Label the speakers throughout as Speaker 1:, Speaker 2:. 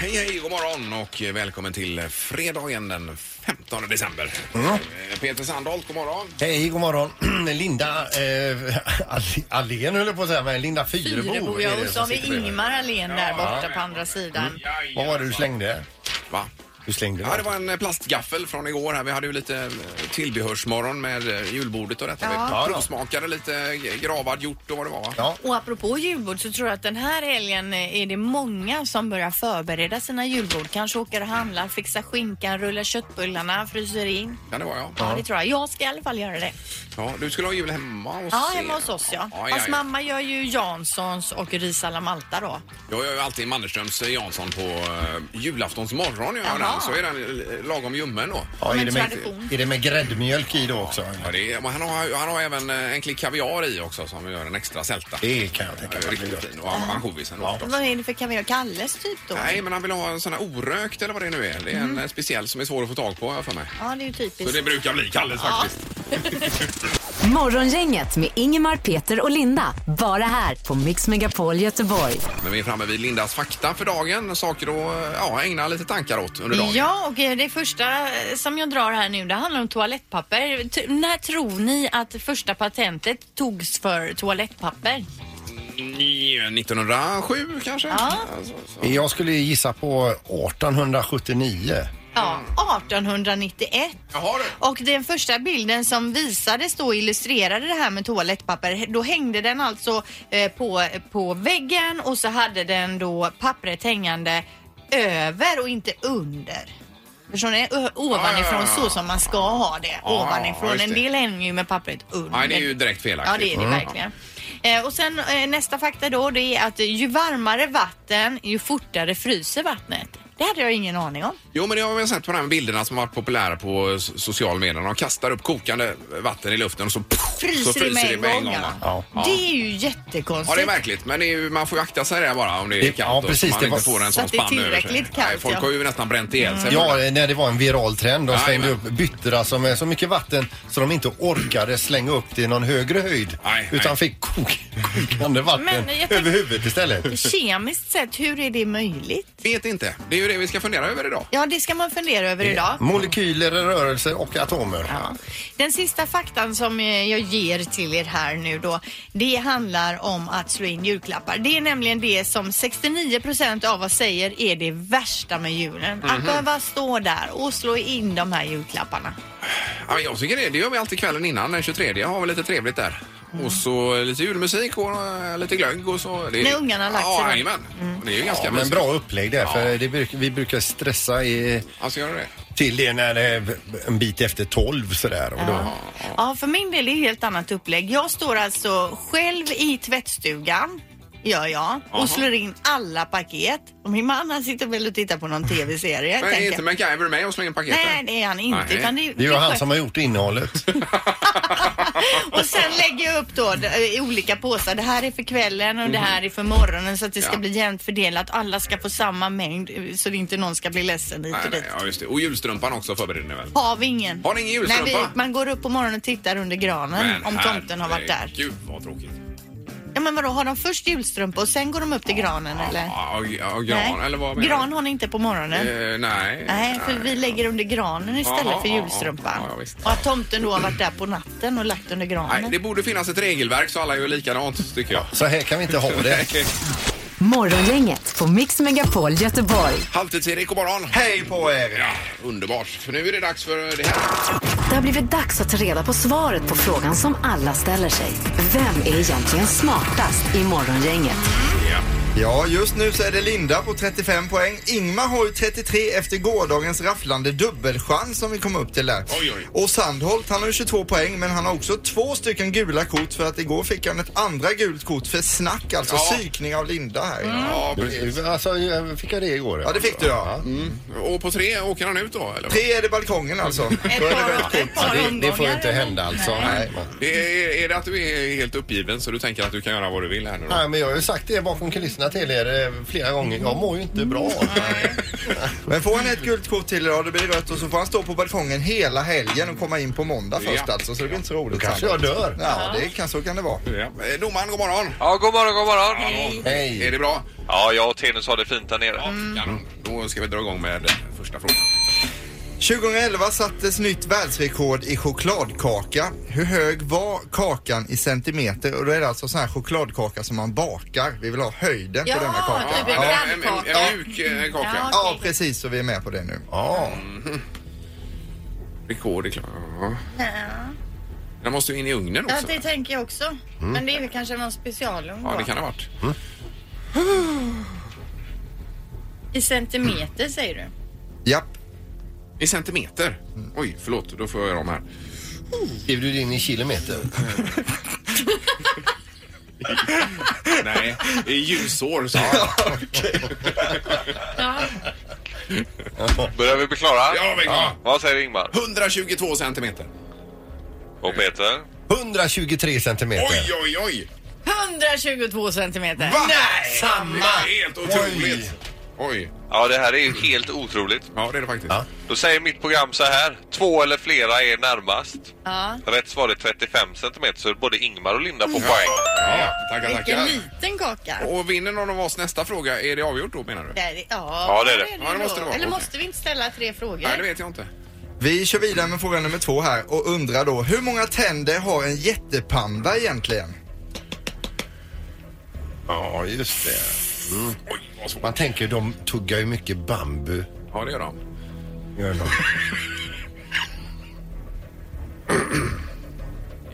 Speaker 1: hej, god morgon och välkommen till fredagen den 15 december. Eh, Peter Sandholt, god morgon.
Speaker 2: Hej, god morgon. Linda eh, All- Allén höll jag på att säga, men Linda Fyrebo.
Speaker 3: Fyrebo,
Speaker 2: är
Speaker 3: ja.
Speaker 2: det
Speaker 3: Och så har
Speaker 2: som
Speaker 3: vi
Speaker 2: sitter bredvid.
Speaker 3: Ingmar Ahlén där
Speaker 1: Ja. Mm.
Speaker 3: borta på andra sidan.
Speaker 2: Vad var det du slängde?
Speaker 1: Va?
Speaker 2: Du slängde
Speaker 1: Ja, det var en eh, plastgaffel från igår. här. Vi hade ju lite eh, tillbehörsmorgon med eh, julbordet och detta.
Speaker 3: Ja.
Speaker 1: Vi provsmakade lite gravad hjort och vad det var. va?
Speaker 2: Ja.
Speaker 3: Och apropå julbord så tror jag att den här helgen är det många som börjar förbereda sina julbord. Kanske åker och handlar, fixar skinkan, rullar köttbullarna, fryser in.
Speaker 1: Ja, det var jag.
Speaker 3: Ja, det tror jag. Jag ska i alla fall göra det.
Speaker 1: Ja, du skulle ha jul hemma hos
Speaker 3: Ja,
Speaker 1: er.
Speaker 3: hemma hos oss ja.
Speaker 1: Ja, ja,
Speaker 3: Fast
Speaker 1: ja.
Speaker 3: mamma gör ju Janssons och ris alla Malta då.
Speaker 1: Jag gör ju alltid Mannerströms eh, Jansson på uh, julaftons morgon. Gör jag
Speaker 3: Jaha.
Speaker 1: den, så är den eh, lagom ljummen då.
Speaker 2: Ja,
Speaker 3: Som
Speaker 2: är,
Speaker 3: en
Speaker 2: det med,
Speaker 3: tradition.
Speaker 2: är det med gräddmjölk i då också?
Speaker 1: Ja, det är, men han, har, han har även eh, en klick kaviar i också som gör en extra sälta.
Speaker 2: Det kan jag tänka
Speaker 1: Eh,
Speaker 2: mig.
Speaker 1: Riktigt fin. Och ansjovisen då förstås.
Speaker 3: Vad är det för kaviar? Kalles typ då?
Speaker 1: Nej, men han vill ha en sån här orökt eller vad det nu är. Det är
Speaker 3: Mm.
Speaker 1: en eh, speciell som är svår att få tag på har jag för mig.
Speaker 3: Ja, det är ju
Speaker 1: Så
Speaker 3: typiskt.
Speaker 1: det brukar bli Kalles faktiskt.
Speaker 4: Morgongänget med Ingemar, Peter och Linda. Bara här på Mix Megapol Göteborg.
Speaker 1: Men vi är framme vid Lindas fakta för dagen. Saker att eh, ja, ägna lite tankar åt under dagen.
Speaker 3: Ja, och eh, det första eh, som jag drar här nu, det handlar om toalettpapper. T- när tror ni att första patentet togs för toalettpapper?
Speaker 1: Ni- 1907 kanske?
Speaker 3: Ja.
Speaker 1: Alltså, så.
Speaker 2: Jag skulle gissa på 1879.
Speaker 3: Ja, 1891.
Speaker 1: Jaha du.
Speaker 3: Och den första bilden som visades då illustrerade det här med toalettpapper. Då hängde den alltså eh, på, på väggen och så hade den då pappret hängande över och inte under. Förstår ni? Ö-
Speaker 1: Ja,
Speaker 3: Ovanifrån
Speaker 1: ja, ja.
Speaker 3: så som man ska ha det.
Speaker 1: Ja, ja,
Speaker 3: Ovanifrån.
Speaker 1: Ah. just
Speaker 3: En
Speaker 1: det.
Speaker 3: del hänger ju med pappret under.
Speaker 1: Nej, det är ju direkt
Speaker 3: Ja,
Speaker 1: felaktigt.
Speaker 3: det är det verkligen. Eh, och sen eh, nästa fakta då, det är att ju varmare vatten, ju fortare fryser vattnet. Det hade jag ingen aning om.
Speaker 1: Jo, men det har vi sett på de här bilderna som har varit populära på s- sociala medier. De kastar upp kokande vatten i luften och så
Speaker 3: Fryser
Speaker 1: så
Speaker 3: det med en gång,
Speaker 1: va?
Speaker 3: ja.
Speaker 2: Ja.
Speaker 3: Det är ju
Speaker 1: Ja,
Speaker 3: jättekonstigt.
Speaker 1: det är märkligt. Men det är ju, man får ju akta sig där bara om det är
Speaker 2: Det-
Speaker 1: kallt
Speaker 2: ja,
Speaker 1: och
Speaker 2: precis,
Speaker 1: man
Speaker 2: det
Speaker 1: inte
Speaker 2: var-
Speaker 1: får
Speaker 3: Så
Speaker 1: en sån
Speaker 3: att det är
Speaker 1: spann över sig.
Speaker 3: tillräckligt kallt,
Speaker 1: Nej, folk
Speaker 3: ja. Mm.
Speaker 1: har ju nästan bränt ihjäl sig.
Speaker 2: Ja, när det var en viral trend. De slängde upp
Speaker 1: Jajamän.
Speaker 2: byttra som är så mycket vatten så de inte orkade slänga upp det i någon högre höjd.
Speaker 1: Nej,
Speaker 2: utan
Speaker 1: nej.
Speaker 2: fick kok- kokande vatten
Speaker 3: Men jag tänk-
Speaker 2: över huvudet istället.
Speaker 3: Kemiskt sett, hur är det möjligt?
Speaker 1: Vet inte. Det är ju det vi ska fundera över idag.
Speaker 3: Ja, det ska man fundera över idag.
Speaker 2: Molekyler, rörelser och atomer.
Speaker 3: Ja. Den sista faktan som eh, jag ger till er här nu då, det handlar om att slå in julklappar. Det är nämligen det som 69 procent av oss säger är det värsta med julen. Att behöva stå där och slå in de här julklapparna.
Speaker 1: Ja, men jag tycker det. Det gör vi alltid kvällen innan, den 23. Har vi lite trevligt där. Och så lite julmusik och eh, lite glögg och så. Det är-
Speaker 3: När ungarna har lagt sig
Speaker 1: Ja,
Speaker 3: då. Mm.
Speaker 1: jajamän. Det är ju ganska
Speaker 2: Ja, men
Speaker 1: mysigt.
Speaker 2: bra upplägg där, för
Speaker 1: Ja.
Speaker 2: det bruk, vi brukar stressa i,
Speaker 1: Alltså, gör du det?
Speaker 2: till det när det är en bit efter tolv sådär. Och då,
Speaker 3: Ja, för min del är det helt annat upplägg. Jag står alltså själv i tvättstugan gör jag och
Speaker 1: Jaha.
Speaker 3: slår in alla paket. Och min man han sitter väl och tittar på någon tv-serie.
Speaker 1: Men
Speaker 3: tänker
Speaker 1: är
Speaker 3: jag.
Speaker 1: inte MacGyver med och slänger paket?
Speaker 3: Nej, det är han inte.
Speaker 1: Nej.
Speaker 3: Utan det,
Speaker 2: det är ju
Speaker 3: det
Speaker 2: han
Speaker 3: sköter-
Speaker 2: som har gjort innehållet.
Speaker 3: och sen lägger jag upp då eh, i olika påsar. Det här är för kvällen och det här är för morgonen så att det ska
Speaker 1: Mhm. Ja.
Speaker 3: bli jämnt fördelat. Alla ska få samma mängd eh, så det inte någon ska bli ledsen hit
Speaker 1: Nej,
Speaker 3: och dit.
Speaker 1: nej, ja, just det. Och julstrumpan också förbereder ni väl?
Speaker 3: Har vi ingen?
Speaker 1: Har ni ingen
Speaker 3: Nej,
Speaker 1: julstrumpa?
Speaker 3: vi, man går upp på morgonen och tittar under granen
Speaker 1: Men
Speaker 3: om tomten har varit där.
Speaker 1: Gud vad tråkigt.
Speaker 3: Ja, men vadå, har de först julstrumpa och sen går de upp till granen eller?
Speaker 1: Ja, ja, ja, gran
Speaker 3: nej.
Speaker 1: eller vad menar
Speaker 3: Gran
Speaker 1: du?
Speaker 3: har ni inte på morgonen?
Speaker 1: Eh, nej.
Speaker 3: Nej, för vi lägger under granen istället
Speaker 1: Jaha,
Speaker 3: för
Speaker 1: ja,
Speaker 3: julstrumpan.
Speaker 1: ja, ja, visst.
Speaker 3: och att tomten då har varit där på natten och lagt under granen.
Speaker 1: Nej, det borde finnas ett regelverk så alla gör likadant tycker jag.
Speaker 2: Så här kan vi inte ha det.
Speaker 4: Morgongänget på Mix Megapol Göteborg.
Speaker 1: Halvtids-Erik, god morgon.
Speaker 2: Hej på er!
Speaker 1: Ja, underbart, för nu är det dags för det här.
Speaker 4: Det har blivit dags att ta reda på svaret på frågan som alla ställer sig. Vem är egentligen smartast i Morgongänget?
Speaker 5: Ja, just nu så är det Linda på 35 poäng. Ingmar har ju 33 efter gårdagens rafflande dubbelchans som vi kom upp till där.
Speaker 1: Oj, oj.
Speaker 5: Och Sandholt, han har ju 22 poäng men han har också två stycken gula kort för att igår fick han ett andra gult kort för snack, alltså
Speaker 1: Ja. Mm.
Speaker 5: psykning av Linda här.
Speaker 1: Ja,
Speaker 3: Mm.
Speaker 1: precis.
Speaker 2: Alltså, jag fick jag det igår?
Speaker 5: Ja, det fick du ja.
Speaker 1: Och på tre åker han ut då, eller?
Speaker 5: Tre är det balkongen alltså.
Speaker 3: Ett
Speaker 5: Då är det
Speaker 3: par-
Speaker 5: väl-
Speaker 3: ett par
Speaker 2: Ja, det, det får ju
Speaker 3: omgångar
Speaker 2: inte
Speaker 3: eller?
Speaker 2: hända alltså. Nej.
Speaker 1: Det är, är det att du är helt uppgiven så du tänker att du kan göra vad du vill här nu då?
Speaker 2: Nej, men jag har ju sagt det bakom kulisserna sagt till er eh, flera gånger, jag mår ju inte bra.
Speaker 5: Men får han ett gult kort till idag, det blir rött och så får han stå på balkongen hela helgen och komma in på måndag först
Speaker 1: Ja.
Speaker 5: alltså. Så det blir inte så roligt.
Speaker 2: Då kanske jag dör.
Speaker 5: Ja, det kan, så kan det vara.
Speaker 1: Ja. Eh, Domaren, god morgon.
Speaker 6: Ja, god morgon, god morgon.
Speaker 2: Hej.
Speaker 1: Är det bra?
Speaker 6: Ja, jag och Tenus har det fint där nere.
Speaker 3: Mm.
Speaker 1: Kanon. Då ska vi dra igång med eh, första frågan.
Speaker 5: 2011 sattes nytt världsrekord i chokladkaka. Hur hög var kakan i centimeter? Och då är det alltså sån här chokladkaka som man bakar. Vi vill ha höjden
Speaker 3: Ja,
Speaker 5: på denna kaka.
Speaker 3: typ en
Speaker 5: ja.
Speaker 3: brand-
Speaker 1: en, en, en mjuk eh, kaka.
Speaker 3: Ja.
Speaker 5: ja, precis. Så vi är med på det nu.
Speaker 2: Ja,
Speaker 1: Rekord i klart. Ja. Den måste ju in i ugnen
Speaker 3: Ja,
Speaker 1: också. Mm.
Speaker 3: det tänker jag också. Men det är väl kanske någon specialugn
Speaker 1: Ja,
Speaker 3: då.
Speaker 1: det kan det ha varit.
Speaker 3: I centimeter säger du?
Speaker 5: Japp.
Speaker 1: I centimeter.
Speaker 3: Mm.
Speaker 1: Oj, förlåt. Då får jag göra om här.
Speaker 2: skriver du det in i kilometer?
Speaker 1: Nej, i ljusår sa jag.
Speaker 3: Ja.
Speaker 6: Börjar vi bli klara?
Speaker 1: Ja, men,
Speaker 6: Vad säger Ingmar?
Speaker 1: 122 centimeter.
Speaker 6: Och Peter?
Speaker 2: 123 centimeter.
Speaker 1: Oj, oj, oj!
Speaker 3: 122 centimeter.
Speaker 1: Nej! Samma! Helt otroligt. Oj.
Speaker 6: Ja, det här är ju helt otroligt.
Speaker 1: Ja, det är det faktiskt.
Speaker 2: Ja.
Speaker 6: Då säger mitt program så här. Två eller flera är närmast.
Speaker 3: Ja.
Speaker 6: Rätt svar är 35 centimeter så både Ingmar och Linda får poäng.
Speaker 1: Ja, tackar,
Speaker 3: Vilken
Speaker 1: tackar.
Speaker 3: liten kaka.
Speaker 1: Och vinner någon av oss nästa fråga, är det avgjort då menar du?
Speaker 3: Där, ja,
Speaker 6: Ja, det är det.
Speaker 1: Ja, det måste
Speaker 3: då.
Speaker 1: det vara.
Speaker 3: Eller
Speaker 1: Okej.
Speaker 3: måste vi inte ställa tre frågor?
Speaker 1: Nej, det vet jag inte.
Speaker 5: Vi kör vidare med fråga nummer två här och undrar då hur många tänder har en jättepanda egentligen?
Speaker 2: Ja, just det. Mm.
Speaker 1: Oj, vad svårt.
Speaker 2: Man tänker de tuggar ju mycket bambu.
Speaker 1: Ja, det gör de.
Speaker 2: Gör de.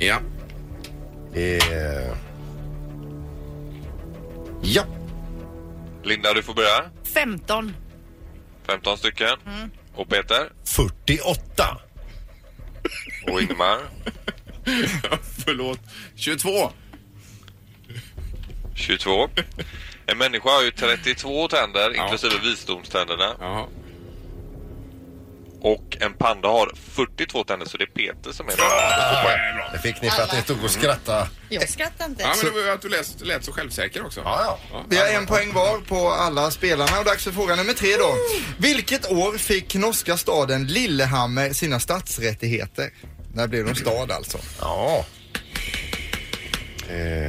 Speaker 1: Ja.
Speaker 2: Eh, Ja,
Speaker 6: Linda, du får börja.
Speaker 3: 15.
Speaker 6: 15 stycken. Och Peter
Speaker 2: 48.
Speaker 6: och Ingmar
Speaker 1: Förlåt. 22.
Speaker 6: 22. En människa har ju 32 tänder
Speaker 1: Ja.
Speaker 6: inklusive visdomständerna
Speaker 1: Jaha.
Speaker 6: och en panda har 42 tänder så det är Peter som är
Speaker 1: Ja,
Speaker 6: det.
Speaker 1: det är bra.
Speaker 2: Det fick ni för att ni stod och skrattade.
Speaker 3: Jag skrattar inte.
Speaker 1: Ja, men det var ju att du lät, lät så självsäker också.
Speaker 2: Ja, ja.
Speaker 5: Vi har en poäng var på alla spelarna och dags för fråga nummer tre då. Vilket år fick norska staden Lillehammer sina stadsrättigheter? När blev de stad alltså?
Speaker 2: Ja.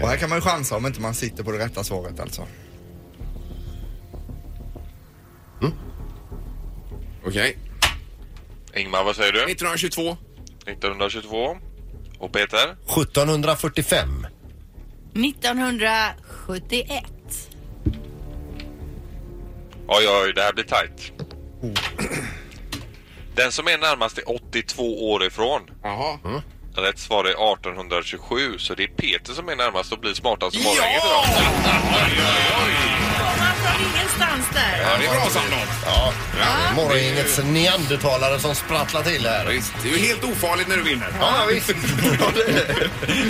Speaker 5: Och här kan man ju chansa om inte man sitter på det rätta svaret alltså.
Speaker 1: Okej.
Speaker 6: Ingmar, vad säger du?
Speaker 1: 1922.
Speaker 6: 1922. Och Peter
Speaker 2: 1745.
Speaker 3: 1971.
Speaker 6: Oj, oj, det här blir tajt. Den som är närmast är 82 år ifrån.
Speaker 1: Jaha.
Speaker 6: Rätt svar är 1827 så det är Peter som är närmast och blir smartast i
Speaker 1: Ja!
Speaker 6: morgongänget idag.
Speaker 3: Kom han från ingenstans där?
Speaker 1: Ja, det är bra samtal.
Speaker 2: Ja. Morgongängets neandertalare som sprattlar till här.
Speaker 1: Visst, det är ju helt ofarligt när du vinner.
Speaker 2: Ja, visst.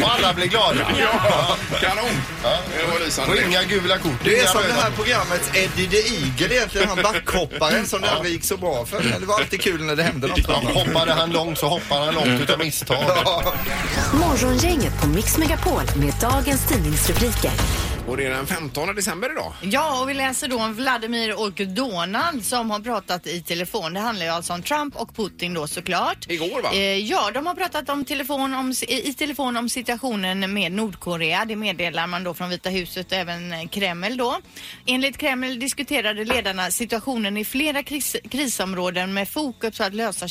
Speaker 2: Och alla blir glada.
Speaker 1: Ja, kanon! Det var
Speaker 2: Och
Speaker 1: lysande.
Speaker 2: inga gula kort.
Speaker 5: Det är
Speaker 2: inga
Speaker 5: som det
Speaker 2: röda
Speaker 5: här programmet Eddie the Eagle egentligen, han backhopparen som det aldrig gick så bra för. Det var alltid kul när det hände något.
Speaker 2: Ja, hoppade han långt så hoppade han långt utav misstag.
Speaker 4: Morgongänget på Mix Megapol med dagens tidningsrubriker.
Speaker 1: Och det är den 15 december idag.
Speaker 3: Ja, och vi läser då om Vladimir och Donald som har pratat i telefon. Det handlar ju alltså om Trump och Putin då såklart.
Speaker 1: Igår, va?
Speaker 3: Eh, ja, de har pratat om telefon om, i telefon om situationen med Nordkorea. Det meddelar man då från Vita huset och även eh, Kreml då. Enligt Kreml diskuterade ledarna situationen i flera kris, krisområden med fokus på att lösa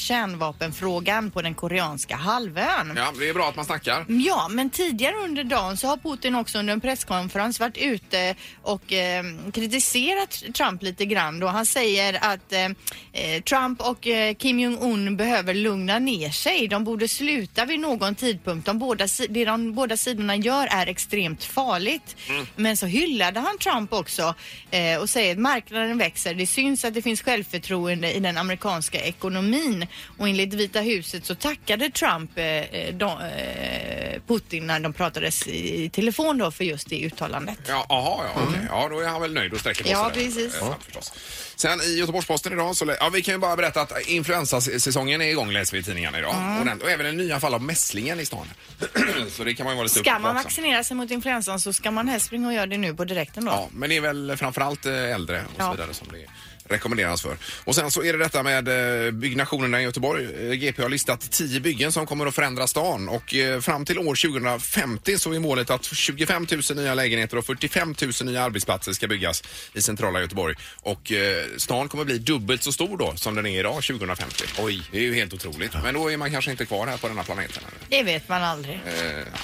Speaker 3: kärnvapenfrågan på den koreanska halvön.
Speaker 1: Ja, det är bra att man snackar.
Speaker 3: Mm, Ja, men tidigare under dagen så har Putin också under en presskonferens varit ute och eh, kritiserat Trump lite grann då. Han säger att eh, eh, Trump och eh, Kim Jong-Un behöver lugna ner sig. De borde sluta vid någon tidpunkt. De båda, si- det de båda sidorna gör är extremt farligt.
Speaker 1: Mm.
Speaker 3: Men så hyllade han Trump också eh, och säger att marknaden växer. Det syns att det finns självförtroende i den amerikanska ekonomin och enligt Vita huset så tackade Trump eh, eh, de, eh, Putin när de pratades i i telefon då för just det uttalandet. livet.
Speaker 1: Ja, aha, ja, okej. ja, då är han väl nöjd och sträcker på
Speaker 3: Ja,
Speaker 1: sig. där.
Speaker 3: precis.
Speaker 1: Eh, förstås. Sen i Göteborgs-Posten idag så lä- ja, vi kan ju bara berätta att influensasäsongen är igång läser vi i tidningarna idag.
Speaker 3: Mm.
Speaker 1: Och, den, och även en nya fall av mässlingen i stan. så det kan man ju vara lite
Speaker 3: Ska man
Speaker 1: uppvaksam.
Speaker 3: vaccinera sig mot influensan så ska man helst springa och göra det nu på direkten då.
Speaker 1: Ja, men det är väl framförallt eh, äldre och så
Speaker 3: Ja.
Speaker 1: vidare som det rekommenderas för. Och sen så är det detta med eh, byggnationerna i Göteborg. Eh, GP har listat 10 byggen som kommer att förändra stan och eh, fram till år 2050 så är målet att 25 000 nya lägenheter och 45 000 nya arbetsplatser ska byggas i centrala Göteborg. Och eh, stan kommer bli dubbelt så stor då som den är idag 2050. Oj, det är ju helt otroligt. Men då är man kanske inte kvar här på denna planeten.
Speaker 3: Det vet man aldrig.
Speaker 1: Eh,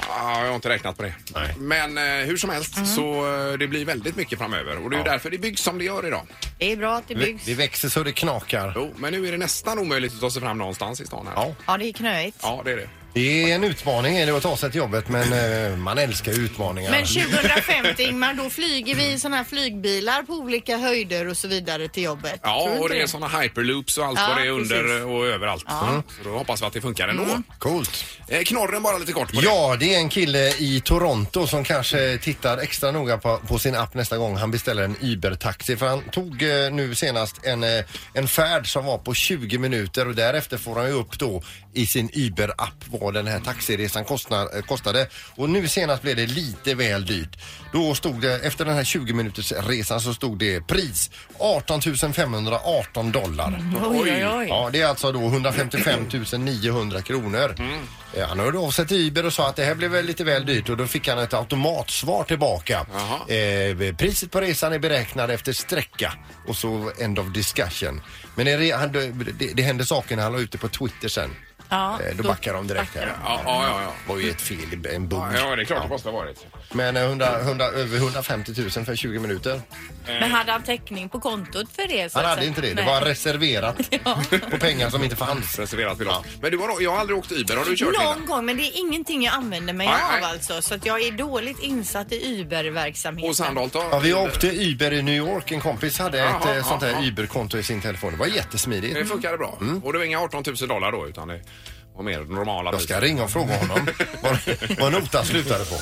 Speaker 1: ja, jag har inte räknat på det.
Speaker 2: Nej.
Speaker 1: Men eh, hur som
Speaker 3: Mm.
Speaker 1: helst så eh, det blir väldigt mycket framöver och det är ju därför det byggs som det gör idag.
Speaker 3: Det är bra att det
Speaker 2: Vi,
Speaker 3: byggs.
Speaker 2: det växer så det knakar.
Speaker 1: Jo, men nu är det nästan omöjligt att ta sig fram någonstans i stan här.
Speaker 2: Ja.
Speaker 3: Ja, det är knöigt.
Speaker 1: Ja, det är det.
Speaker 2: Det är en utmaning är det att ta sig till jobbet men eh, man älskar ju utmaningar.
Speaker 3: Men 2050 Ingmar, då flyger vi i såna här flygbilar på olika höjder och så vidare till jobbet. Tror
Speaker 1: Ja,
Speaker 3: du
Speaker 1: och
Speaker 3: inte
Speaker 1: det är såna hyperloops och allt
Speaker 3: Ja,
Speaker 1: vad det är
Speaker 3: precis. Mm.
Speaker 1: under och överallt. Mm. Så då hoppas vi att det funkar ändå.
Speaker 2: Coolt.
Speaker 1: Eh, knorren bara lite kort på det.
Speaker 2: Ja, det är en kille i Toronto som kanske tittar extra noga på, på sin app nästa gång han beställer en Uber-taxi. För han tog eh, nu senast en, eh, en färd som var på 20 minuter och därefter får han ju upp då i sin Uber-app vad den här taxiresan kostnar, eh, kostade. Och nu senast blev det lite väl dyrt. Då stod det, efter den här 20 minuters resan så stod det pris 18 518 dollar.
Speaker 3: Oj, oj, oj.
Speaker 2: Ja, det är alltså då 155 900 kronor. Eh, Han hörde av sig till Uber och sa att det här blev väl lite väl dyrt och då fick han ett automatsvar tillbaka.
Speaker 1: Jaha.
Speaker 2: Eh, priset på resan är beräknat efter sträcka och så end of discussion. Men det, re- han, det, det hände saker när han la ut det på Twitter sen.
Speaker 3: Ja,
Speaker 2: eh, då
Speaker 3: då
Speaker 2: backar de direkt här.
Speaker 1: Ja, ja, ja.
Speaker 2: Det var ju ett fel, en bugg.
Speaker 1: ja. ja det är klart det måste ha varit.
Speaker 2: Men eh, 100, 100, över 150 000 för 20 minuter.
Speaker 3: Men hade han täckning på kontot för det? så
Speaker 2: Han
Speaker 3: att
Speaker 2: hade
Speaker 3: säga?
Speaker 2: inte det. Det
Speaker 3: Nej.
Speaker 2: var reserverat på pengar som inte fanns.
Speaker 1: Reserverat belopp. Men du har, nog- jag har aldrig åkt Uber. Har du kört
Speaker 3: Någon
Speaker 1: innan?
Speaker 3: gång, men det är ingenting jag använder mig
Speaker 1: Nej, nej.
Speaker 3: av alltså. Så att jag är dåligt insatt i
Speaker 1: Och
Speaker 3: Uber-verksamheten.
Speaker 1: Sandholt då?
Speaker 2: Ja, vi åkte Uber i New York. En kompis hade ett
Speaker 1: Jaha,
Speaker 2: eh, sånt
Speaker 1: jaha.
Speaker 2: här Uber-konto i sin telefon. Det var jättesmidigt.
Speaker 1: Det funkade bra. Och det var inga 18 000 dollar då utan det var mer normala
Speaker 2: Mm. Jag
Speaker 1: priser.
Speaker 2: ska ringa och fråga honom vad, vad notan slutade på.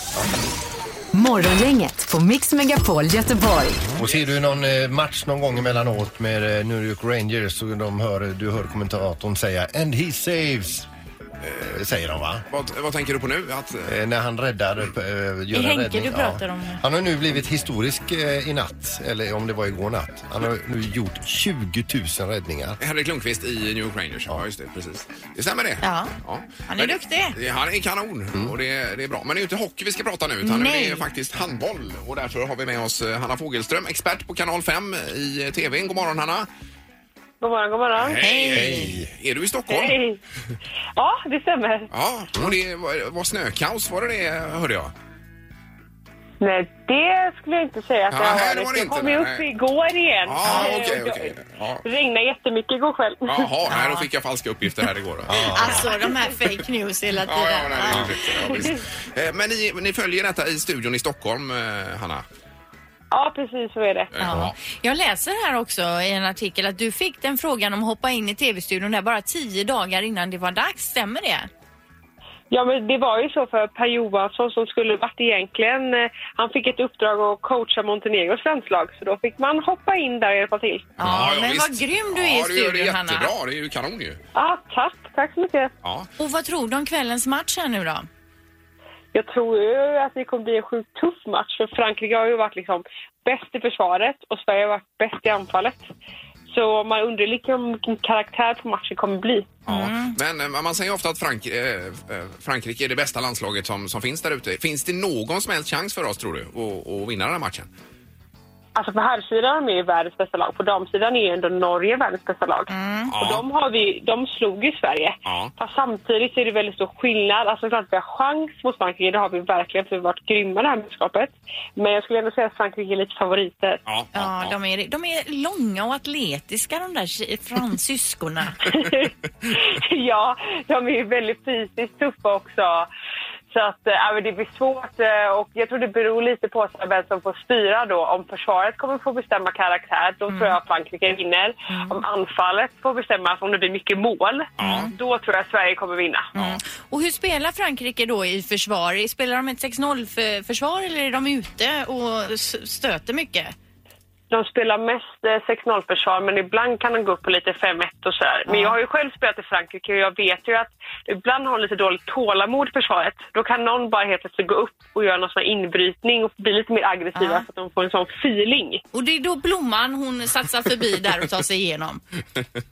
Speaker 4: Morgongänget på Mix Megapol Göteborg.
Speaker 2: Och ser du någon eh, match någon gång emellanåt med eh, New York Rangers och de hör, du hör kommentatorn säga “And he saves”, eh, säger de va?
Speaker 1: Vad, vad tänker du på nu? Att, eh,
Speaker 2: Eh, När han räddar, eh, gör en
Speaker 3: Henke
Speaker 2: räddning.
Speaker 3: du pratar om.
Speaker 2: Han har nu blivit historisk eh, i natt, eller om det var igår natt. Han har nu gjort 20 000 räddningar.
Speaker 1: Henrik Lundqvist i New York Rangers. Ja, just det. Precis. Det stämmer det.
Speaker 3: Ja. Han är
Speaker 1: Men-
Speaker 3: duktig. Mm.
Speaker 1: det- Han är kanon och det, det är bra. Men det är ju inte hockey vi ska prata nu utan
Speaker 3: Nej.
Speaker 1: det är faktiskt handboll. Och därför har vi med oss eh, Hanna Fogelström, expert på Kanal 5 i eh, TV. God morgon Hanna!
Speaker 7: God morgon, god morgon.
Speaker 1: Hej! Är du i Stockholm?
Speaker 7: Hej. Ja, det stämmer.
Speaker 1: Ja, och det var, var snökaos var det det hörde jag?
Speaker 7: Nej, det skulle jag inte säga att
Speaker 1: Ja,
Speaker 7: jag har
Speaker 1: här var
Speaker 7: varit.
Speaker 1: det
Speaker 7: Det
Speaker 1: inte,
Speaker 7: kom ju upp
Speaker 1: nej.
Speaker 7: igår igen.
Speaker 1: Ja,
Speaker 7: Eh,
Speaker 1: okej,
Speaker 7: och
Speaker 1: okej. Ja.
Speaker 7: Det regnade jättemycket igår kväll.
Speaker 1: Jaha, nej, då fick jag falska uppgifter här igår. Ja,
Speaker 3: Alltså de här fake news hela tiden.
Speaker 1: ja, nej, det är riktigt. ja, visst. Eh, Men ni, ni följer detta i studion i Stockholm, eh, Hanna?
Speaker 7: Ja, precis så är det.
Speaker 1: Eh,
Speaker 3: Ja. Jag läser här också i en artikel att du fick den frågan om att hoppa in i tv-studion där bara tio dagar innan det var dags. Stämmer det?
Speaker 7: Ja, men det var ju så för Per Johansson som skulle varit egentligen. eh, Han fick ett uppdrag att coacha Montenegros landslag, så då fick man hoppa in där och hjälpa till.
Speaker 1: Ja, ja,
Speaker 3: men
Speaker 1: visst.
Speaker 3: vad grym du är i
Speaker 1: ja, du gör det
Speaker 3: studion Hanna.
Speaker 1: jättebra. Det är ju kanon ju.
Speaker 7: Ja, tack. Tack så mycket.
Speaker 1: Ja.
Speaker 3: Och vad tror du om kvällens match här nu då?
Speaker 7: Jag tror ju att det kommer bli en sjukt tuff match för Frankrike har ju varit liksom bäst i försvaret och Sverige har varit bäst i anfallet. Så man undrar liksom vilken karaktär på matchen kommer bli.
Speaker 1: Ja.
Speaker 3: Mm.
Speaker 1: Men eh, man säger ofta att Frank, eh, eh, Frankrike är det bästa landslaget som, som finns där ute. Finns det någon som helst chans för oss, tror du, att, att vinna den här matchen?
Speaker 7: Alltså på herrsidan är de ju världens bästa lag, på damsidan är ju ändå Norge världens bästa lag. Och de, har vi, de slog ju Sverige.
Speaker 1: Ja.
Speaker 7: Fast samtidigt så är det väldigt stor skillnad. Alltså klart vi har chans mot Frankrike, det har vi verkligen för vi har varit grymma det här mästerskapet. Men jag skulle ändå säga att Frankrike är lite favoriter.
Speaker 1: Ja,
Speaker 3: Ja, De, är, de är långa och atletiska de där tje- fransyskorna.
Speaker 7: ja, de är ju väldigt fysiskt tuffa också. Så att, eh, ja, men det blir svårt eh, och jag tror det beror lite på så här vem som får styra då. Om försvaret kommer få bestämma karaktär, då tror jag Frankrike vinner. Om anfallet får bestämma, om det blir mycket mål, då tror jag Sverige kommer vinna.
Speaker 3: Mm. Och hur spelar Frankrike då i försvar? Spelar de ett 6-0-försvar eller är de ute och s- stöter mycket?
Speaker 7: De spelar mest eh, 6-0-försvar, men ibland kan de gå upp på lite 5-1 och sådär. Men jag har ju själv spelat i Frankrike och jag vet ju att ibland har de lite dåligt tålamod i försvaret. Då kan någon bara helt plötsligt gå upp och göra någon sån här inbrytning och bli lite mer aggressiva
Speaker 3: Ja.
Speaker 7: så att de får en sån feeling.
Speaker 3: Och det är då Blomman hon satsar förbi där och tar sig igenom.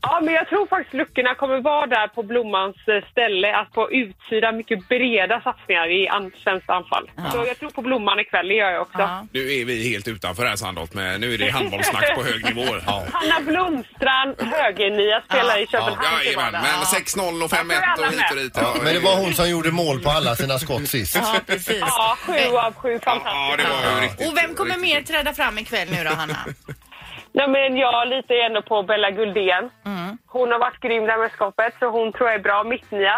Speaker 7: Ja, men jag tror faktiskt luckorna kommer vara där på Blommans eh, ställe, att på utsidan mycket breda satsningar i an- svenskt anfall. Så jag tror på Blomman ikväll, det gör jag också.
Speaker 3: Ja.
Speaker 1: Nu är vi helt utanför här Sandholt, men nu är det handbollssnack på hög nivå. Ja.
Speaker 7: Hanna Blomstrand, högernia, spelar i Köpenhamn
Speaker 1: Ja,
Speaker 7: till
Speaker 1: jajamän,
Speaker 7: vardag.
Speaker 1: men 6-0 och 5-1 och hit och dit.
Speaker 2: Ja, men det var hon som gjorde mål på alla sina skott sist.
Speaker 3: Ja, precis.
Speaker 7: Ja, sju av sju. Fantastiskt.
Speaker 1: Ja, det var ju riktigt.
Speaker 3: Och vem kommer
Speaker 1: riktigt
Speaker 3: mer träda fram ikväll nu då, Hanna?
Speaker 7: Nej, men jag litar ju ändå på Bella Guldén. Hon har varit grym där med skapet, så hon tror jag är bra mittnia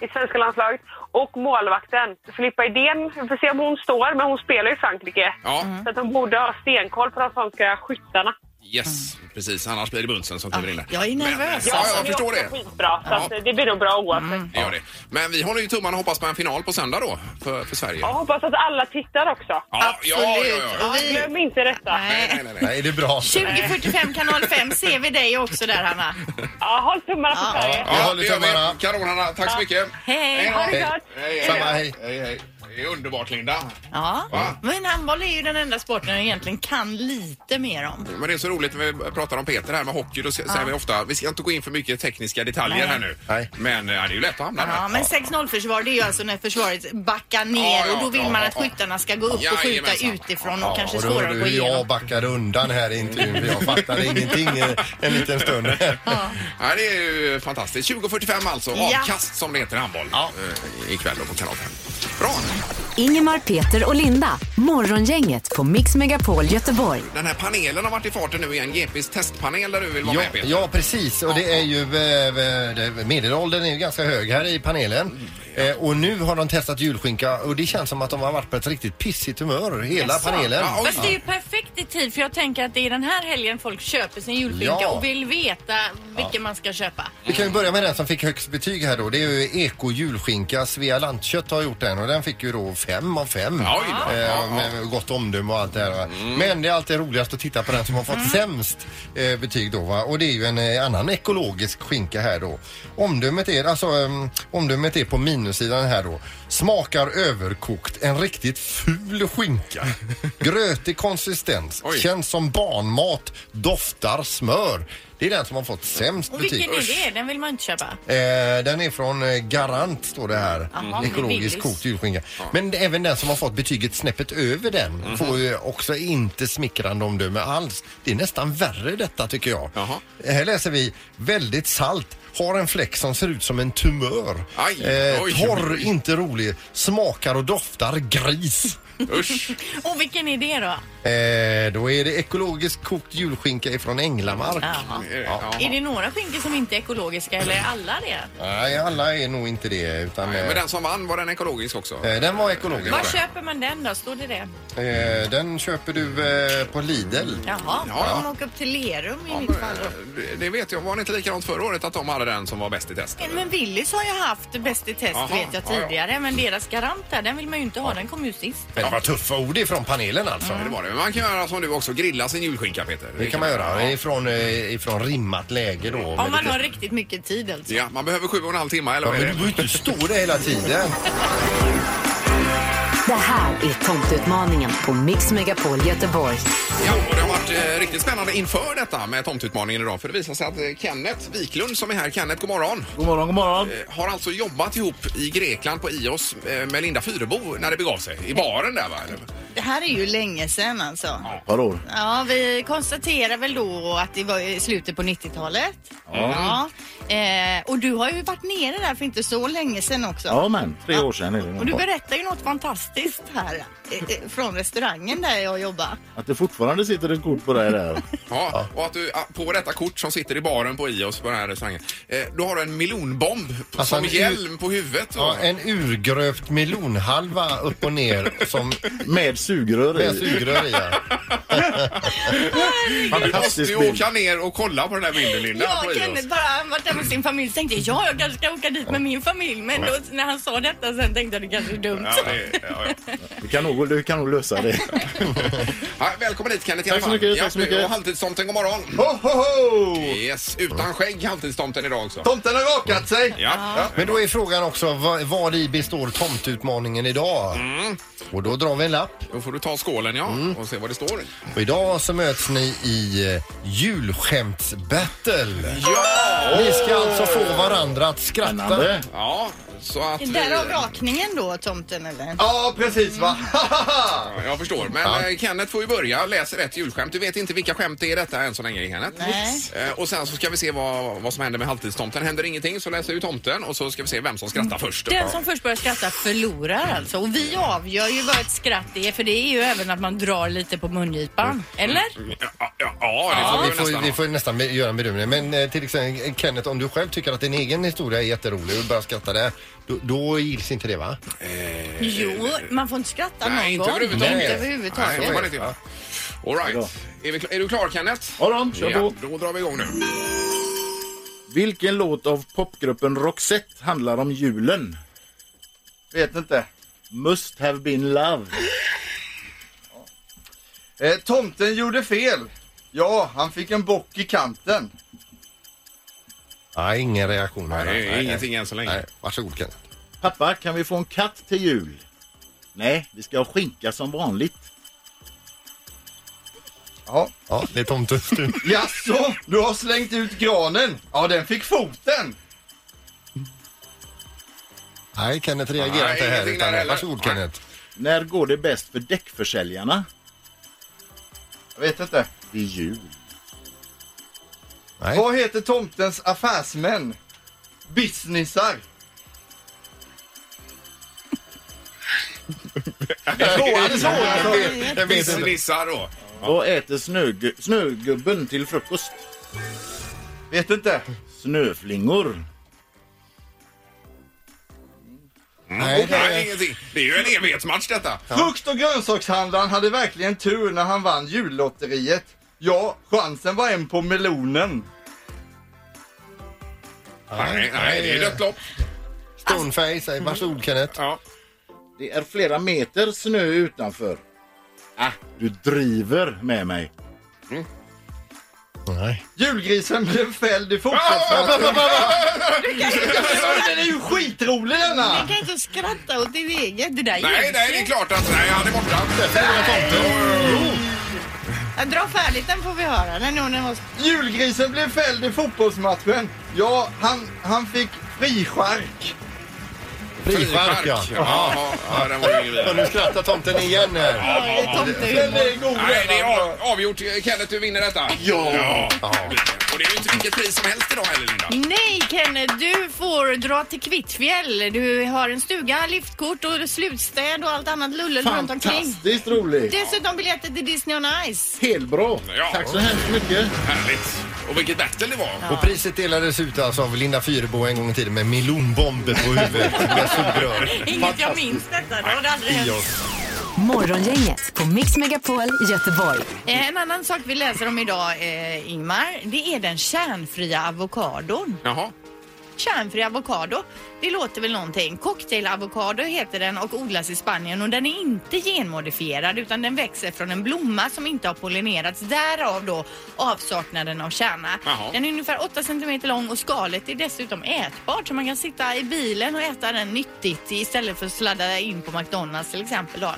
Speaker 7: i svenska landslaget. Och målvakten, Filippa Idén. Vi får se om hon står, men hon spelar i Frankrike.
Speaker 1: Ja,
Speaker 3: Mm.
Speaker 7: Så att hon borde ha stenkoll på de franska skyttarna.
Speaker 1: yes, precis. Annars blir det Bunsen som kliver in där.
Speaker 3: jag är nervös,
Speaker 1: Men, ja,
Speaker 3: alltså.
Speaker 1: jag förstår
Speaker 7: det.
Speaker 1: det.
Speaker 7: är också skitbra, så att eh,
Speaker 1: Ja. Mm.
Speaker 7: det blir nog bra oavsett.
Speaker 1: det, gör det. Men vi håller ju tummarna och hoppas på en final på söndag då, för, för Sverige.
Speaker 7: Jag hoppas att alla tittar också.
Speaker 1: ja, ja, ja, ja.
Speaker 3: Och vi...
Speaker 7: Glöm inte detta.
Speaker 1: Nej,
Speaker 3: Nej.
Speaker 1: nej, nej, nej.
Speaker 2: Nej, det är bra.
Speaker 3: 2045 kanal 5 ser vi dig också där, Hanna.
Speaker 7: Ja, håll tummarna på
Speaker 3: Ja.
Speaker 7: Sverige.
Speaker 2: Vi håller
Speaker 1: det gör vi.
Speaker 2: tummarna.
Speaker 1: Kanon, Hanna. Tack så mycket.
Speaker 3: Hej.
Speaker 1: då.
Speaker 7: Ha det
Speaker 2: Hej.
Speaker 7: gott!
Speaker 1: Hej,
Speaker 2: Samma, hej.
Speaker 1: hej, hej. Det är underbart, Linda.
Speaker 3: Ja,
Speaker 1: Va?
Speaker 3: men handboll är ju den enda sporten jag egentligen kan lite mer om.
Speaker 1: Men det är så roligt när vi pratar om Peter här med hockey. Då säger vi ofta, vi ska inte gå in för mycket tekniska detaljer
Speaker 3: Nej.
Speaker 1: här nu.
Speaker 2: Nej.
Speaker 1: Men ja, det är ju lätt att hamna
Speaker 3: Ja,
Speaker 1: där.
Speaker 3: men 6-0-försvar det är ju alltså när försvaret backar ner
Speaker 1: Ja, ja,
Speaker 3: och då vill
Speaker 1: ja,
Speaker 3: man
Speaker 1: ja,
Speaker 3: att
Speaker 1: ja.
Speaker 3: skyttarna ska gå upp och skjuta
Speaker 1: Jajamensan.
Speaker 3: utifrån
Speaker 2: Ja,
Speaker 3: och kanske
Speaker 2: och då
Speaker 3: svårare att
Speaker 2: hörde
Speaker 3: gå
Speaker 2: hur jag
Speaker 3: igenom.
Speaker 2: backade undan här i intervjun för jag fattade ingenting en, en liten stund.
Speaker 1: Ja, det är ju fantastiskt. 20.45 alltså.
Speaker 3: Ja.
Speaker 1: Avkast som det heter i handboll. Ja. Ikväll då på kanal 5. Bra!
Speaker 4: Ingemar, Peter och Linda. Morgongänget på Mix Megapol Göteborg.
Speaker 1: Den här panelen har varit i farten nu igen. GPs testpanel där du vill vara
Speaker 2: Ja,
Speaker 1: med Peter.
Speaker 2: ja, precis. Och det är ju... eh, det- Medelåldern är ju ganska hög här i
Speaker 1: Mm,
Speaker 2: panelen. Eh, Och nu har de testat julskinka och det känns som att de har varit på ett riktigt pissigt humör, hela
Speaker 3: Jaså?
Speaker 2: panelen.
Speaker 1: Ja,
Speaker 3: Fast det är ju perfekt i tid för jag tänker att det är den här helgen folk köper sin julskinka
Speaker 2: Ja.
Speaker 3: och vill veta vilken man ska köpa.
Speaker 2: Vi kan ju börja med den som fick högst betyg här då. Det är ju Eko julskinka. Svea Lantkött har gjort den och den fick ju då fem av fem.
Speaker 1: Oj då. Ja, Mm.
Speaker 2: Eh, med gott omdöme och allt det här. va. Men det är alltid roligast att titta på den som har fått sämst eh, betyg då va. Och det är ju en eh, annan ekologisk skinka här då. Omdömet är, alltså, ehm, omdömet är på minussidan här då. Smakar överkokt. En riktigt ful skinka. Grötig konsistens.
Speaker 1: Oj.
Speaker 2: Känns som barnmat. Doftar smör. Det är den som har fått sämst
Speaker 3: Och
Speaker 2: betyg.
Speaker 3: vilken är det? Den vill man inte köpa.
Speaker 2: Eh, den är från eh, Garant, står det här. Mm-hmm.
Speaker 3: Jaha,
Speaker 2: Ekologisk
Speaker 3: Willys.
Speaker 2: kokt julskinka. Men även den som har fått betyget snäppet över den
Speaker 1: Mhm.
Speaker 2: får ju också inte smickrande omdöme alls. Det är nästan värre detta tycker jag.
Speaker 1: Jaha.
Speaker 2: Här läser vi väldigt salt. Har en fläck som ser ut som en tumör. Eh,
Speaker 1: Aj, oj,
Speaker 2: torr,
Speaker 1: oj.
Speaker 2: inte rolig. Smakar och doftar gris.
Speaker 1: Usch!
Speaker 3: Och vilken är det då?
Speaker 2: Eh, då är det ekologisk kokt julskinka ifrån Änglamark.
Speaker 3: Jaha.
Speaker 1: Ja.
Speaker 3: Är det några skinkor som inte är ekologiska eller är alla det?
Speaker 2: Nej, alla är nog inte det. Utan,
Speaker 1: Men
Speaker 2: eh,
Speaker 1: den som vann, var den ekologisk också?
Speaker 2: eh, den var ekologisk.
Speaker 3: Var köper man den då? Står det det?
Speaker 2: Eh, den köper du eh, på Lidl.
Speaker 3: Jaha,
Speaker 1: Ja, ja.
Speaker 3: de åker upp till Lerum i
Speaker 1: Ja,
Speaker 3: mitt fall. då.
Speaker 1: men, eh, Det vet jag. Var det inte likadant förra året att de hade den som var bäst i test? eller?
Speaker 3: Men Willys har ju haft Bäst i test
Speaker 1: Jaha,
Speaker 3: vet jag
Speaker 1: ja, ja.
Speaker 3: tidigare. Men deras garant där, den vill man ju inte ha. Den kom ju sist.
Speaker 2: Men det var tuffa ord ifrån panelen alltså.
Speaker 1: Ja, Det var det. Men man kan göra som du också, grilla sin julskinka Peter.
Speaker 2: Det kan man göra.
Speaker 1: Ja.
Speaker 2: Ifrån, eh, ifrån rimmat läge då.
Speaker 3: Om man har riktigt mycket tid alltså.
Speaker 1: Ja, man behöver sju och en halv timme eller
Speaker 2: Ja,
Speaker 1: vad
Speaker 2: men
Speaker 1: är
Speaker 2: du
Speaker 1: det?
Speaker 2: behöver inte stå där hela tiden.
Speaker 4: Det här är tomteutmaningen på Mix Megapol Göteborg.
Speaker 1: Ja, och det har varit eh, riktigt spännande inför detta med tomtutmaningen idag. För det visar sig att eh, Kenneth Wiklund som är här, Kenneth, god morgon,
Speaker 8: God morgon, god morgon.
Speaker 1: eh, har alltså jobbat ihop i Grekland på Ios eh, med Linda Fyrebo när det begav sig. I baren där va? eller?
Speaker 3: det här är ju länge sedan alltså.
Speaker 8: Par år.
Speaker 3: Ja, vi konstaterar väl då att det var i slutet på 90-talet.
Speaker 1: Mm.
Speaker 3: Ja. Eh, och du har ju varit nere där för inte så länge sedan också.
Speaker 8: Ja, men tre år sedan är det.
Speaker 3: Och du
Speaker 8: nog.
Speaker 3: berättar ju något fantastiskt här eh, eh, från restaurangen där jag jobbar.
Speaker 8: Att det fortfarande sitter ett kort på dig där.
Speaker 1: Ja, och att du ah, på detta kort som sitter i baren på Ios på den här restaurangen, eh, då har du en melonbomb på-
Speaker 2: Alltså,
Speaker 1: som
Speaker 2: en-
Speaker 1: hjälm på huvudet.
Speaker 2: Ja,
Speaker 1: va?
Speaker 2: en urgröpt melonhalva upp och ner som
Speaker 8: Med sugrör
Speaker 2: med
Speaker 8: i.
Speaker 2: sugrör i. ja.
Speaker 1: du måste
Speaker 8: Fantastisk
Speaker 1: ju
Speaker 8: bild.
Speaker 1: åka ner och kolla på den här bilden Linda. på
Speaker 3: Ja,
Speaker 1: Ios.
Speaker 3: Kenneth bara han varit där med sin familj så tänkte jag ja, jag kanske ska åka dit med min familj. Men då, när han sa detta sen tänkte jag det kanske är dumt.
Speaker 1: Ja, det, ja, ja.
Speaker 8: Du kan nog, du kan nog lösa det.
Speaker 1: Ja, välkommen hit Kenneth i
Speaker 8: Tack
Speaker 1: alla
Speaker 8: så
Speaker 1: fall.
Speaker 8: mycket, tack
Speaker 1: Ja,
Speaker 8: så mycket.
Speaker 1: Och halvtidstomten, god morgon.
Speaker 5: Ho, ho, ho!
Speaker 1: Yes, utan skägg halvtidstomten idag också.
Speaker 5: Tomten har rakat sig!
Speaker 1: Ja.
Speaker 2: Men då är frågan också vad, vad i består tomtutmaningen idag? Och då drar vi en lapp.
Speaker 1: Då får du ta skålen ja
Speaker 8: Mm.
Speaker 1: och se vad det står.
Speaker 2: Och idag så möts ni i eh, julskämtsbattle.
Speaker 1: Ja!
Speaker 2: Ni ska alltså få varandra att skratta.
Speaker 8: Spännande.
Speaker 1: Ja, så att... eh,
Speaker 3: Därav rakningen då, tomten eller?
Speaker 5: Ja, precis va? Hahaha!
Speaker 1: Ja, Jag förstår. Men eh, Kenneth får ju börja. Läs rätt julskämt. Du vet inte vilka skämt det är detta än så länge, Kenneth.
Speaker 3: Nej.
Speaker 1: Eh, Och sen så ska vi se vad, vad som händer med halvtidstomten. Händer ingenting så läser vi tomten och så ska vi se vem som
Speaker 3: Mm.
Speaker 1: skrattar först.
Speaker 9: Den som först börjar skratta förlorar alltså. Och vi avgör ju vad ett skratt är för det är ju även att man drar lite på mungipan.
Speaker 1: Mm.
Speaker 9: Eller?
Speaker 1: Ja, ja, ja, det får
Speaker 2: Vi får,
Speaker 1: vi ju nästan ha.
Speaker 2: vi får nästan be- göra en bedömning. Men eh, till exempel Kenneth, om du själv tycker att din egen historia är jätterolig och börjar skratta där, då, då gills inte det va?
Speaker 3: Jo, man får inte skratta någon
Speaker 1: Nej, inte
Speaker 3: gång.
Speaker 1: överhuvudtaget.
Speaker 3: Inte
Speaker 1: Nej, det får
Speaker 3: överhuvudtaget.
Speaker 1: man inte göra. All
Speaker 8: Bra.
Speaker 1: right. Är, vi, kla- är du klar, Kenneth?
Speaker 8: Ja då, kör på.
Speaker 1: då drar vi igång nu.
Speaker 8: Vilken låt av popgruppen Roxette handlar om julen?
Speaker 5: Vet inte.
Speaker 8: Must have been love.
Speaker 5: Eh, tomten gjorde fel. Ja, han fick en bock i kanten.
Speaker 2: Nej, ingen reaktion. här.
Speaker 1: Nej, ingenting än så länge.
Speaker 2: Nej, varsågod Kenneth.
Speaker 8: Pappa, kan vi få en katt till jul? Nej, vi ska ha skinka som vanligt.
Speaker 5: Ja.
Speaker 2: Ja, det är tomtens tur.
Speaker 5: Jaså, du har slängt ut granen? Ja, den fick foten.
Speaker 2: Nej, Kenneth reagerar
Speaker 1: Nej,
Speaker 2: inte här.
Speaker 1: ingenting där
Speaker 2: Utan,
Speaker 1: heller.
Speaker 2: varsågod
Speaker 1: Nej.
Speaker 2: Kenneth.
Speaker 8: När går det bäst för däckförsäljarna?
Speaker 5: Jag vet inte.
Speaker 8: Vid jul.
Speaker 2: Nej.
Speaker 5: Vad heter tomtens affärsmän? Businessar. Det är svårare än så, alltså.
Speaker 2: Jag vet inte.
Speaker 1: Businessar då.
Speaker 8: Vad äter snögu- snögubben till frukost?
Speaker 5: Vet inte.
Speaker 8: Snöflingor.
Speaker 2: Nej, det
Speaker 1: Mm. Nej,
Speaker 2: är...
Speaker 1: ingenting. Det är ju en evighetsmatch detta.
Speaker 5: Frukt och grönsakshandlaren hade verkligen tur när han vann jullotteriet. Ja, chansen var en på melonen.
Speaker 1: Nej, nej, det är dött lopp.
Speaker 2: Stoneface, säg varsågod Kenneth.
Speaker 1: Ja.
Speaker 8: Det är flera meter snö utanför. Ah, du driver med mig.
Speaker 2: Nej.
Speaker 5: Julgrisen blev fälld i fotbollsmatchen. Den är ju skitrolig denna!
Speaker 3: Man kan inte skratta åt ditt eget. Det där
Speaker 1: Nej,
Speaker 3: gills
Speaker 1: nej, det är
Speaker 3: ju.
Speaker 1: klart att nej, han är borta.
Speaker 3: Ja, Dra färdigt den får vi höra. Den är nog den var...
Speaker 5: Julgrisen blev fälld i fotbollsmatchen. Ja, han, han fick friskärk.
Speaker 2: Frispark ja.
Speaker 1: Ja, ja, den var ju ingen
Speaker 2: Och
Speaker 1: vidare.
Speaker 2: nu skrattar tomten igen här.
Speaker 3: Ja,
Speaker 5: Den
Speaker 3: tomtehumor.
Speaker 5: är god
Speaker 1: Nej, det
Speaker 5: denna.
Speaker 1: är av, avgjort. Kenneth, du vinner detta. Ja. Och det är ju inte vilket pris som helst idag heller, Linda.
Speaker 9: Nej Kenneth, du får dra till Kvittfjäll. Du har en stuga, liftkort och slutstäd och allt annat lullel runt omkring.
Speaker 8: Fantastiskt roligt.
Speaker 9: Dessutom biljetter till Disney on Ice.
Speaker 8: Helt bra.
Speaker 1: Ja.
Speaker 8: Tack så hemskt mycket.
Speaker 1: Härligt. Och vilket battle det var.
Speaker 2: Och priset delades ut alltså av Linda Fyrebo en gång i tiden med melonbomber på huvudet med sugrör.
Speaker 3: Inget jag minns detta. Det har det aldrig hänt.
Speaker 4: Morgongänget på Mix Megapol Göteborg.
Speaker 3: Eh, En annan sak vi läser om idag, eh, Ingmar, det är den kärnfria avokadon.
Speaker 1: Jaha.
Speaker 3: Kärnfri avokado, det låter väl någonting. Cocktailavokado heter den och odlas i Spanien och den är inte genmodifierad utan den växer från en blomma som inte har pollinerats. Därav då avsaknaden av kärna.
Speaker 1: Jaha.
Speaker 3: Den är ungefär 8 cm lång och skalet är dessutom ätbart så man kan sitta i bilen och äta den nyttigt istället för att sladda in på McDonalds till exempel. Då.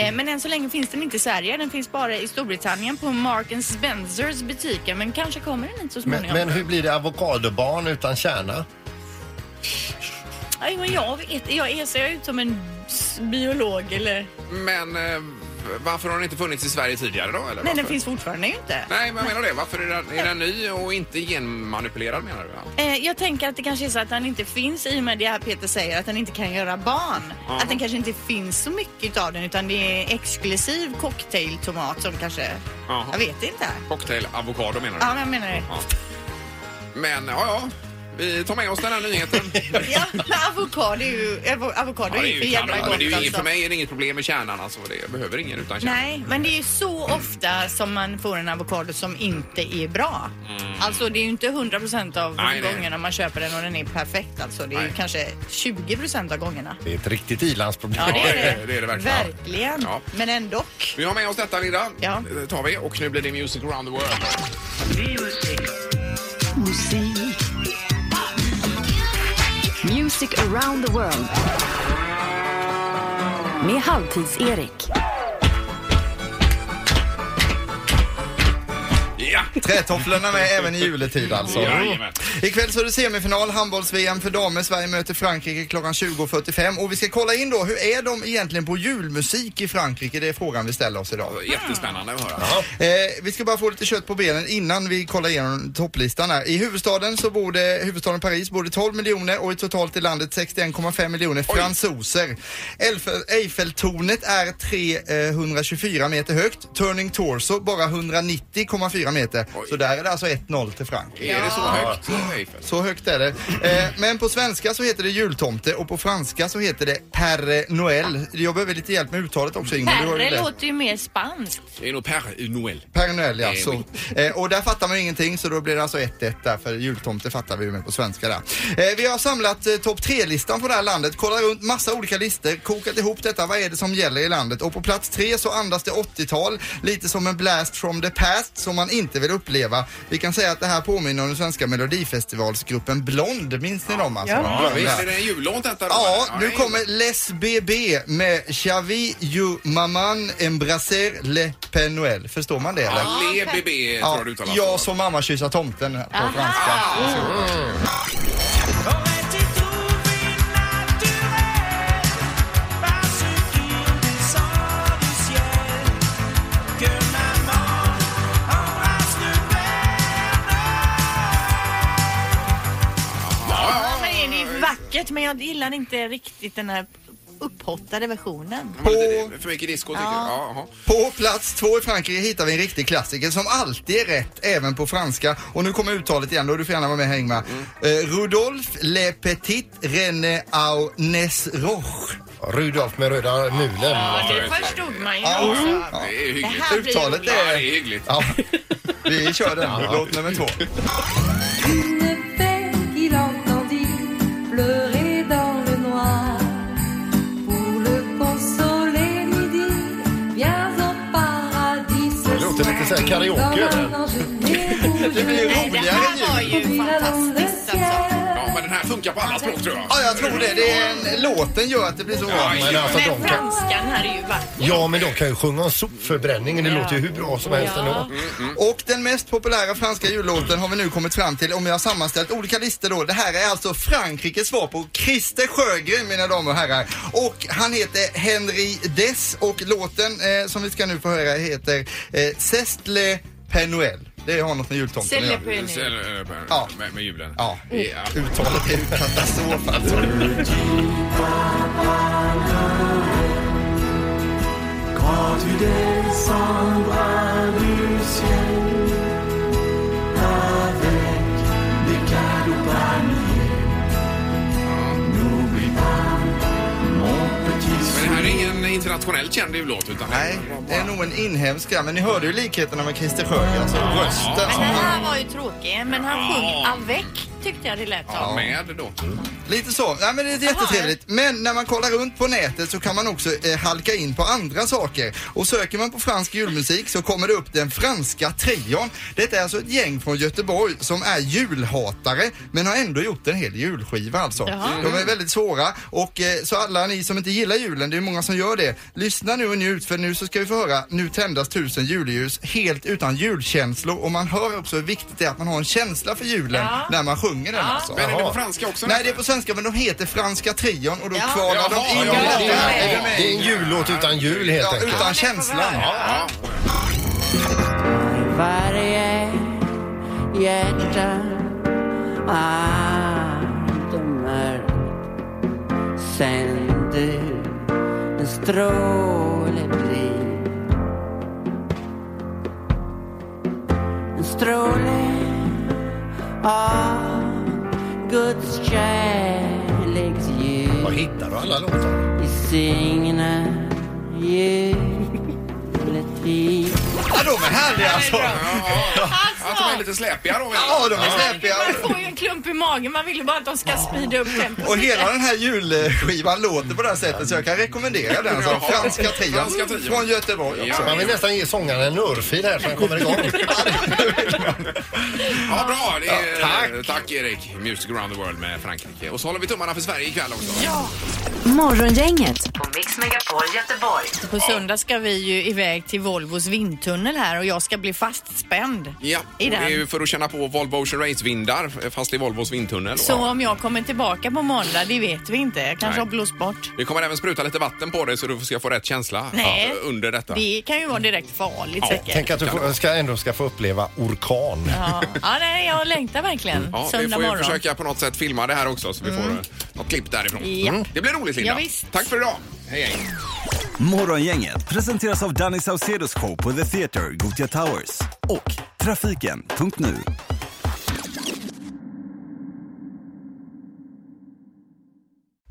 Speaker 3: Eh, Men än så länge finns den inte i Sverige. Den finns bara i Storbritannien på Mark and Spencers butiker men kanske kommer den hit så
Speaker 2: Men,
Speaker 3: småningom.
Speaker 2: men hur blir det avokadobarn utan kärna?
Speaker 9: Aj, men jag vet jag är, ser jag ut som en s- biolog eller?
Speaker 1: Men eh, varför har den inte funnits i Sverige tidigare då? Eller
Speaker 3: Nej, den
Speaker 1: varför?
Speaker 3: finns fortfarande ju inte.
Speaker 1: Nej, men jag menar det. Varför är den, är den ny och inte genmanipulerad menar du? Alltså, va?
Speaker 3: Eh, Jag tänker att det kanske är så att den inte finns i och med det här Peter säger att den inte kan göra barn.
Speaker 1: Ja.
Speaker 3: Att den kanske inte finns så mycket av den utan det är exklusiv cocktailtomat som kanske...
Speaker 1: Jaha.
Speaker 3: Jag vet inte.
Speaker 1: Cocktail avokado menar du?
Speaker 3: Ja, men jag menar det.
Speaker 1: Ja. Men ja, ja. Vi tar med oss den här nyheten.
Speaker 3: Ja, men avokado är ju, avo- avokado
Speaker 1: Ja,
Speaker 3: är ju för jävla
Speaker 1: kanon.
Speaker 3: gott
Speaker 1: Men det är ju ingen,
Speaker 3: alltså.
Speaker 1: för mig är det inget problem med kärnan alltså. Det behöver ingen utan kärna.
Speaker 3: Nej, men det är ju så ofta som man får en avokado som inte är bra. Alltså det är ju inte 100% av
Speaker 1: Nej, nej.
Speaker 3: gångerna man köper den och den är perfekt. Alltså det är ju
Speaker 1: Nej.
Speaker 3: kanske 20% av gångerna.
Speaker 2: Det är ett riktigt i-landsproblem.
Speaker 3: Ja, det är
Speaker 1: det är
Speaker 3: det.
Speaker 1: det. Det är det verkligen.
Speaker 3: verkligen.
Speaker 1: Ja.
Speaker 3: Men ändock.
Speaker 1: Vi har med oss detta Linda.
Speaker 3: Ja.
Speaker 1: Det tar vi. Och nu blir det Music around the world.
Speaker 4: Music around the world. Med Halvtids-Erik.
Speaker 1: Ja!
Speaker 5: Trätofflorna med även i juletid alltså.
Speaker 1: Jajamän.
Speaker 5: Ikväll så är det semifinal handbolls-VM för damer. Sverige möter Frankrike klockan 20.45 och vi ska kolla in då, hur är de egentligen på julmusik i Frankrike? Det är frågan vi ställer oss idag.
Speaker 1: Jättespännande att höra.
Speaker 5: Eh, vi ska bara få lite kött på benen innan vi kollar igenom topplistan här. I huvudstaden så bor det, huvudstaden Paris bor det 12 miljoner och i totalt i landet 61,5 miljoner fransoser. Elfe- Eiffeltornet är 324 meter högt. Turning Torso bara 190,4 meter.
Speaker 1: Oj.
Speaker 5: Så där är det alltså 1-0 till Frankrike.
Speaker 1: Är det så högt? Eiffel?
Speaker 5: Så högt är det. Eh, men på svenska så heter det jultomte och på franska så heter det Père Noël. Jag behöver lite hjälp med uttalet också Ingmar. Du har ju
Speaker 9: Perre
Speaker 5: läst-
Speaker 9: låter ju mer spanskt.
Speaker 1: Det är nog Per Noel.
Speaker 5: Per Noël, ja.
Speaker 1: Eh,
Speaker 5: Så, eh, och där fattar man ju ingenting så då blir det alltså 1-1 där för jultomte fattar vi ju med på svenska där. Eh, vi har samlat eh, topp 3-listan på det här landet, kollat runt massa olika listor, kokat ihop detta, vad är det som gäller i landet? Och på plats 3 så andas det 80-tal, lite som en blast from the past som man inte vill uppleva. Vi kan säga att det här påminner om den svenska melodifestivalsgruppen Blond, minns ni dem alltså?
Speaker 1: Ja, visst är det en jullåt detta då?
Speaker 5: Ja,
Speaker 1: eller?
Speaker 5: nu
Speaker 1: nej.
Speaker 5: kommer Les BB med Chavi You Maman Embrasser Le Père Noël. Förstår man det eller?
Speaker 1: Ja, Le BB tror jag du uttalar.
Speaker 5: jag som mamma kyssar tomten här på franska.
Speaker 3: Ja, men det är ju vackert men jag gillar inte riktigt den här upphottade versionen.
Speaker 1: Det var lite det. För mycket disco tycker du? Ja, jaha.
Speaker 5: På plats två i Frankrike hittar vi en riktig klassiker som alltid är rätt även på franska. Och nu kommer uttalet igen då, du får gärna vara med här Ingmar.
Speaker 1: Mm.
Speaker 5: Eh, Rudolf Le Petit René au Nes Roche.
Speaker 2: Rudolf med röda mulen.
Speaker 3: Ja, det förstod man ju också.
Speaker 1: Det är ju
Speaker 3: Det
Speaker 1: hyggligt.
Speaker 3: här blir ju
Speaker 5: Uttalet
Speaker 1: Ja,
Speaker 5: är...
Speaker 1: det är hyggligt.
Speaker 5: Ja, vi kör den. Låt nummer två.
Speaker 10: Une paix qu'il entendit pleurer dans le noir. Pour le consoler, lui dit Viens au paradis
Speaker 2: Det
Speaker 10: ce soir.
Speaker 2: låter lite såhär karaoke.
Speaker 10: Comme
Speaker 2: eller?
Speaker 10: un ange déroulant
Speaker 5: Det blir
Speaker 3: Nej, det här var
Speaker 5: roligare
Speaker 10: dans
Speaker 5: ju.
Speaker 3: ju
Speaker 10: le
Speaker 3: fantastiskt alltså.
Speaker 10: ciel.
Speaker 1: Ja, men den här funkar på alla språk tror jag.
Speaker 5: Ja, jag tror det. det är en... Låten gör att det blir så bra.
Speaker 1: Ja,
Speaker 2: Men alltså,
Speaker 3: Men
Speaker 2: de kan...
Speaker 3: franskan här är ju vacker.
Speaker 2: Ja, men de kan ju sjunga om sopförbränningen. Det låter ju hur bra som helst ändå.
Speaker 5: Och den mest populära franska jullåten har vi nu kommit fram till om jag har sammanställt olika listor då. Det här är alltså Frankrikes svar på Christer Sjögren mina damer och herrar. Och han heter Henry Dess och låten eh, som vi ska nu få höra heter eh, Sestle Penuel. Det har något med jultomten att göra.
Speaker 1: Sen, eh, med-
Speaker 5: Ja.
Speaker 1: Med, med julen.
Speaker 5: Ja.
Speaker 1: ja.
Speaker 5: Uttalet är ju katastrof alltså.
Speaker 1: Men det här är ingen internationellt känd jullåt utan
Speaker 5: Nej, det är nog en inhemsk ja, men ni hörde ju likheterna med Christer Sjögren. Alltså rösten
Speaker 3: Men
Speaker 5: som
Speaker 3: den
Speaker 5: han
Speaker 3: här var ju tråkig, men han sjöng avec tyckte jag det lät som.
Speaker 1: med då.
Speaker 5: Lite så. Nej, men det är jättetrevligt. Men när man kollar runt på nätet så kan man också eh, halka in på andra saker. Och söker man på fransk julmusik så kommer det upp den franska trion. Detta är alltså ett gäng från Göteborg som är julhatare men har ändå gjort en hel julskiva alltså. De är väldigt svåra och eh, så alla ni som inte gillar julen, det är många som gör det. Lyssna nu och njut för nu så ska vi få höra Nu tändas tusen julljus helt utan julkänslor och man hör också hur viktigt det är att man har en känsla för julen när man sjunger sjunger den
Speaker 1: Ja.
Speaker 5: alltså.
Speaker 1: Men är det på franska också?
Speaker 5: Nej, det är på svenska, men de heter Franska Trion och då
Speaker 1: Ja.
Speaker 5: kvalar de
Speaker 1: Jaha,
Speaker 5: in
Speaker 1: ja,
Speaker 5: detta.
Speaker 1: det är-
Speaker 5: Är du med?
Speaker 2: Det är en jullåt utan jul helt
Speaker 5: Ja,
Speaker 2: enkelt.
Speaker 5: utan känslan.
Speaker 1: Ja.
Speaker 11: varje hjärta andemer Sen du en stråle blir En stråle av Guds kärleks ljus Var
Speaker 2: hittar du alla låtar?
Speaker 11: I signa juletid
Speaker 5: Ja, de är härliga alltså.
Speaker 1: Att de är lite släpiga då.
Speaker 5: Ja, de är släpiga.
Speaker 3: Man får ju en klump i magen. Man vill ju bara att de ska speeda upp tempot.
Speaker 5: Och hela den här julskivan låter på det här sättet så jag kan rekommendera den. Alltså.
Speaker 1: Jaha.
Speaker 5: Franska trion
Speaker 1: Franska trion.
Speaker 5: från Göteborg också.
Speaker 2: Man vill nästan ge sångaren en örfil här så han kommer igång.
Speaker 1: Ja, bra. Det är, tack. tack Erik. Music around the world med Frankrike. Och så håller vi tummarna för Sverige ikväll också. Ja.
Speaker 4: Morgongänget
Speaker 3: På Mix Megapol Göteborg. På söndag ska vi ju iväg till Volvos vindtunnel här och jag ska bli fastspänd.
Speaker 1: Ja,
Speaker 3: I
Speaker 1: och det är
Speaker 3: den.
Speaker 1: ju för att känna på Volvo Ocean Race-vindar fast i Volvos vindtunnel. då.
Speaker 3: Så om jag kommer tillbaka på måndag, det vet vi inte. Jag kanske
Speaker 1: Nej.
Speaker 3: har blåst bort.
Speaker 1: Vi kommer även spruta lite vatten på dig så du ska få rätt känsla
Speaker 3: Nej.
Speaker 1: eh, under detta.
Speaker 3: Det kan ju vara direkt farligt säkert.
Speaker 2: Tänk att du får, ska, ändå ska få uppleva orkan.
Speaker 3: Ja. ja, nej, jag längtar verkligen.
Speaker 1: Ja, vi
Speaker 3: söndag
Speaker 1: får ju
Speaker 3: morgon. Mm.
Speaker 1: försöka på något sätt filma det här också så vi får eh, något klipp därifrån.
Speaker 3: Ja.
Speaker 1: Mm. Det blir roligt Linda.
Speaker 3: Ja, visst.
Speaker 1: Tack för idag. Hej hej.
Speaker 12: Morgongänget presenteras av Danny Saucedos show på The Theatre, Gothia Towers och Trafiken.nu.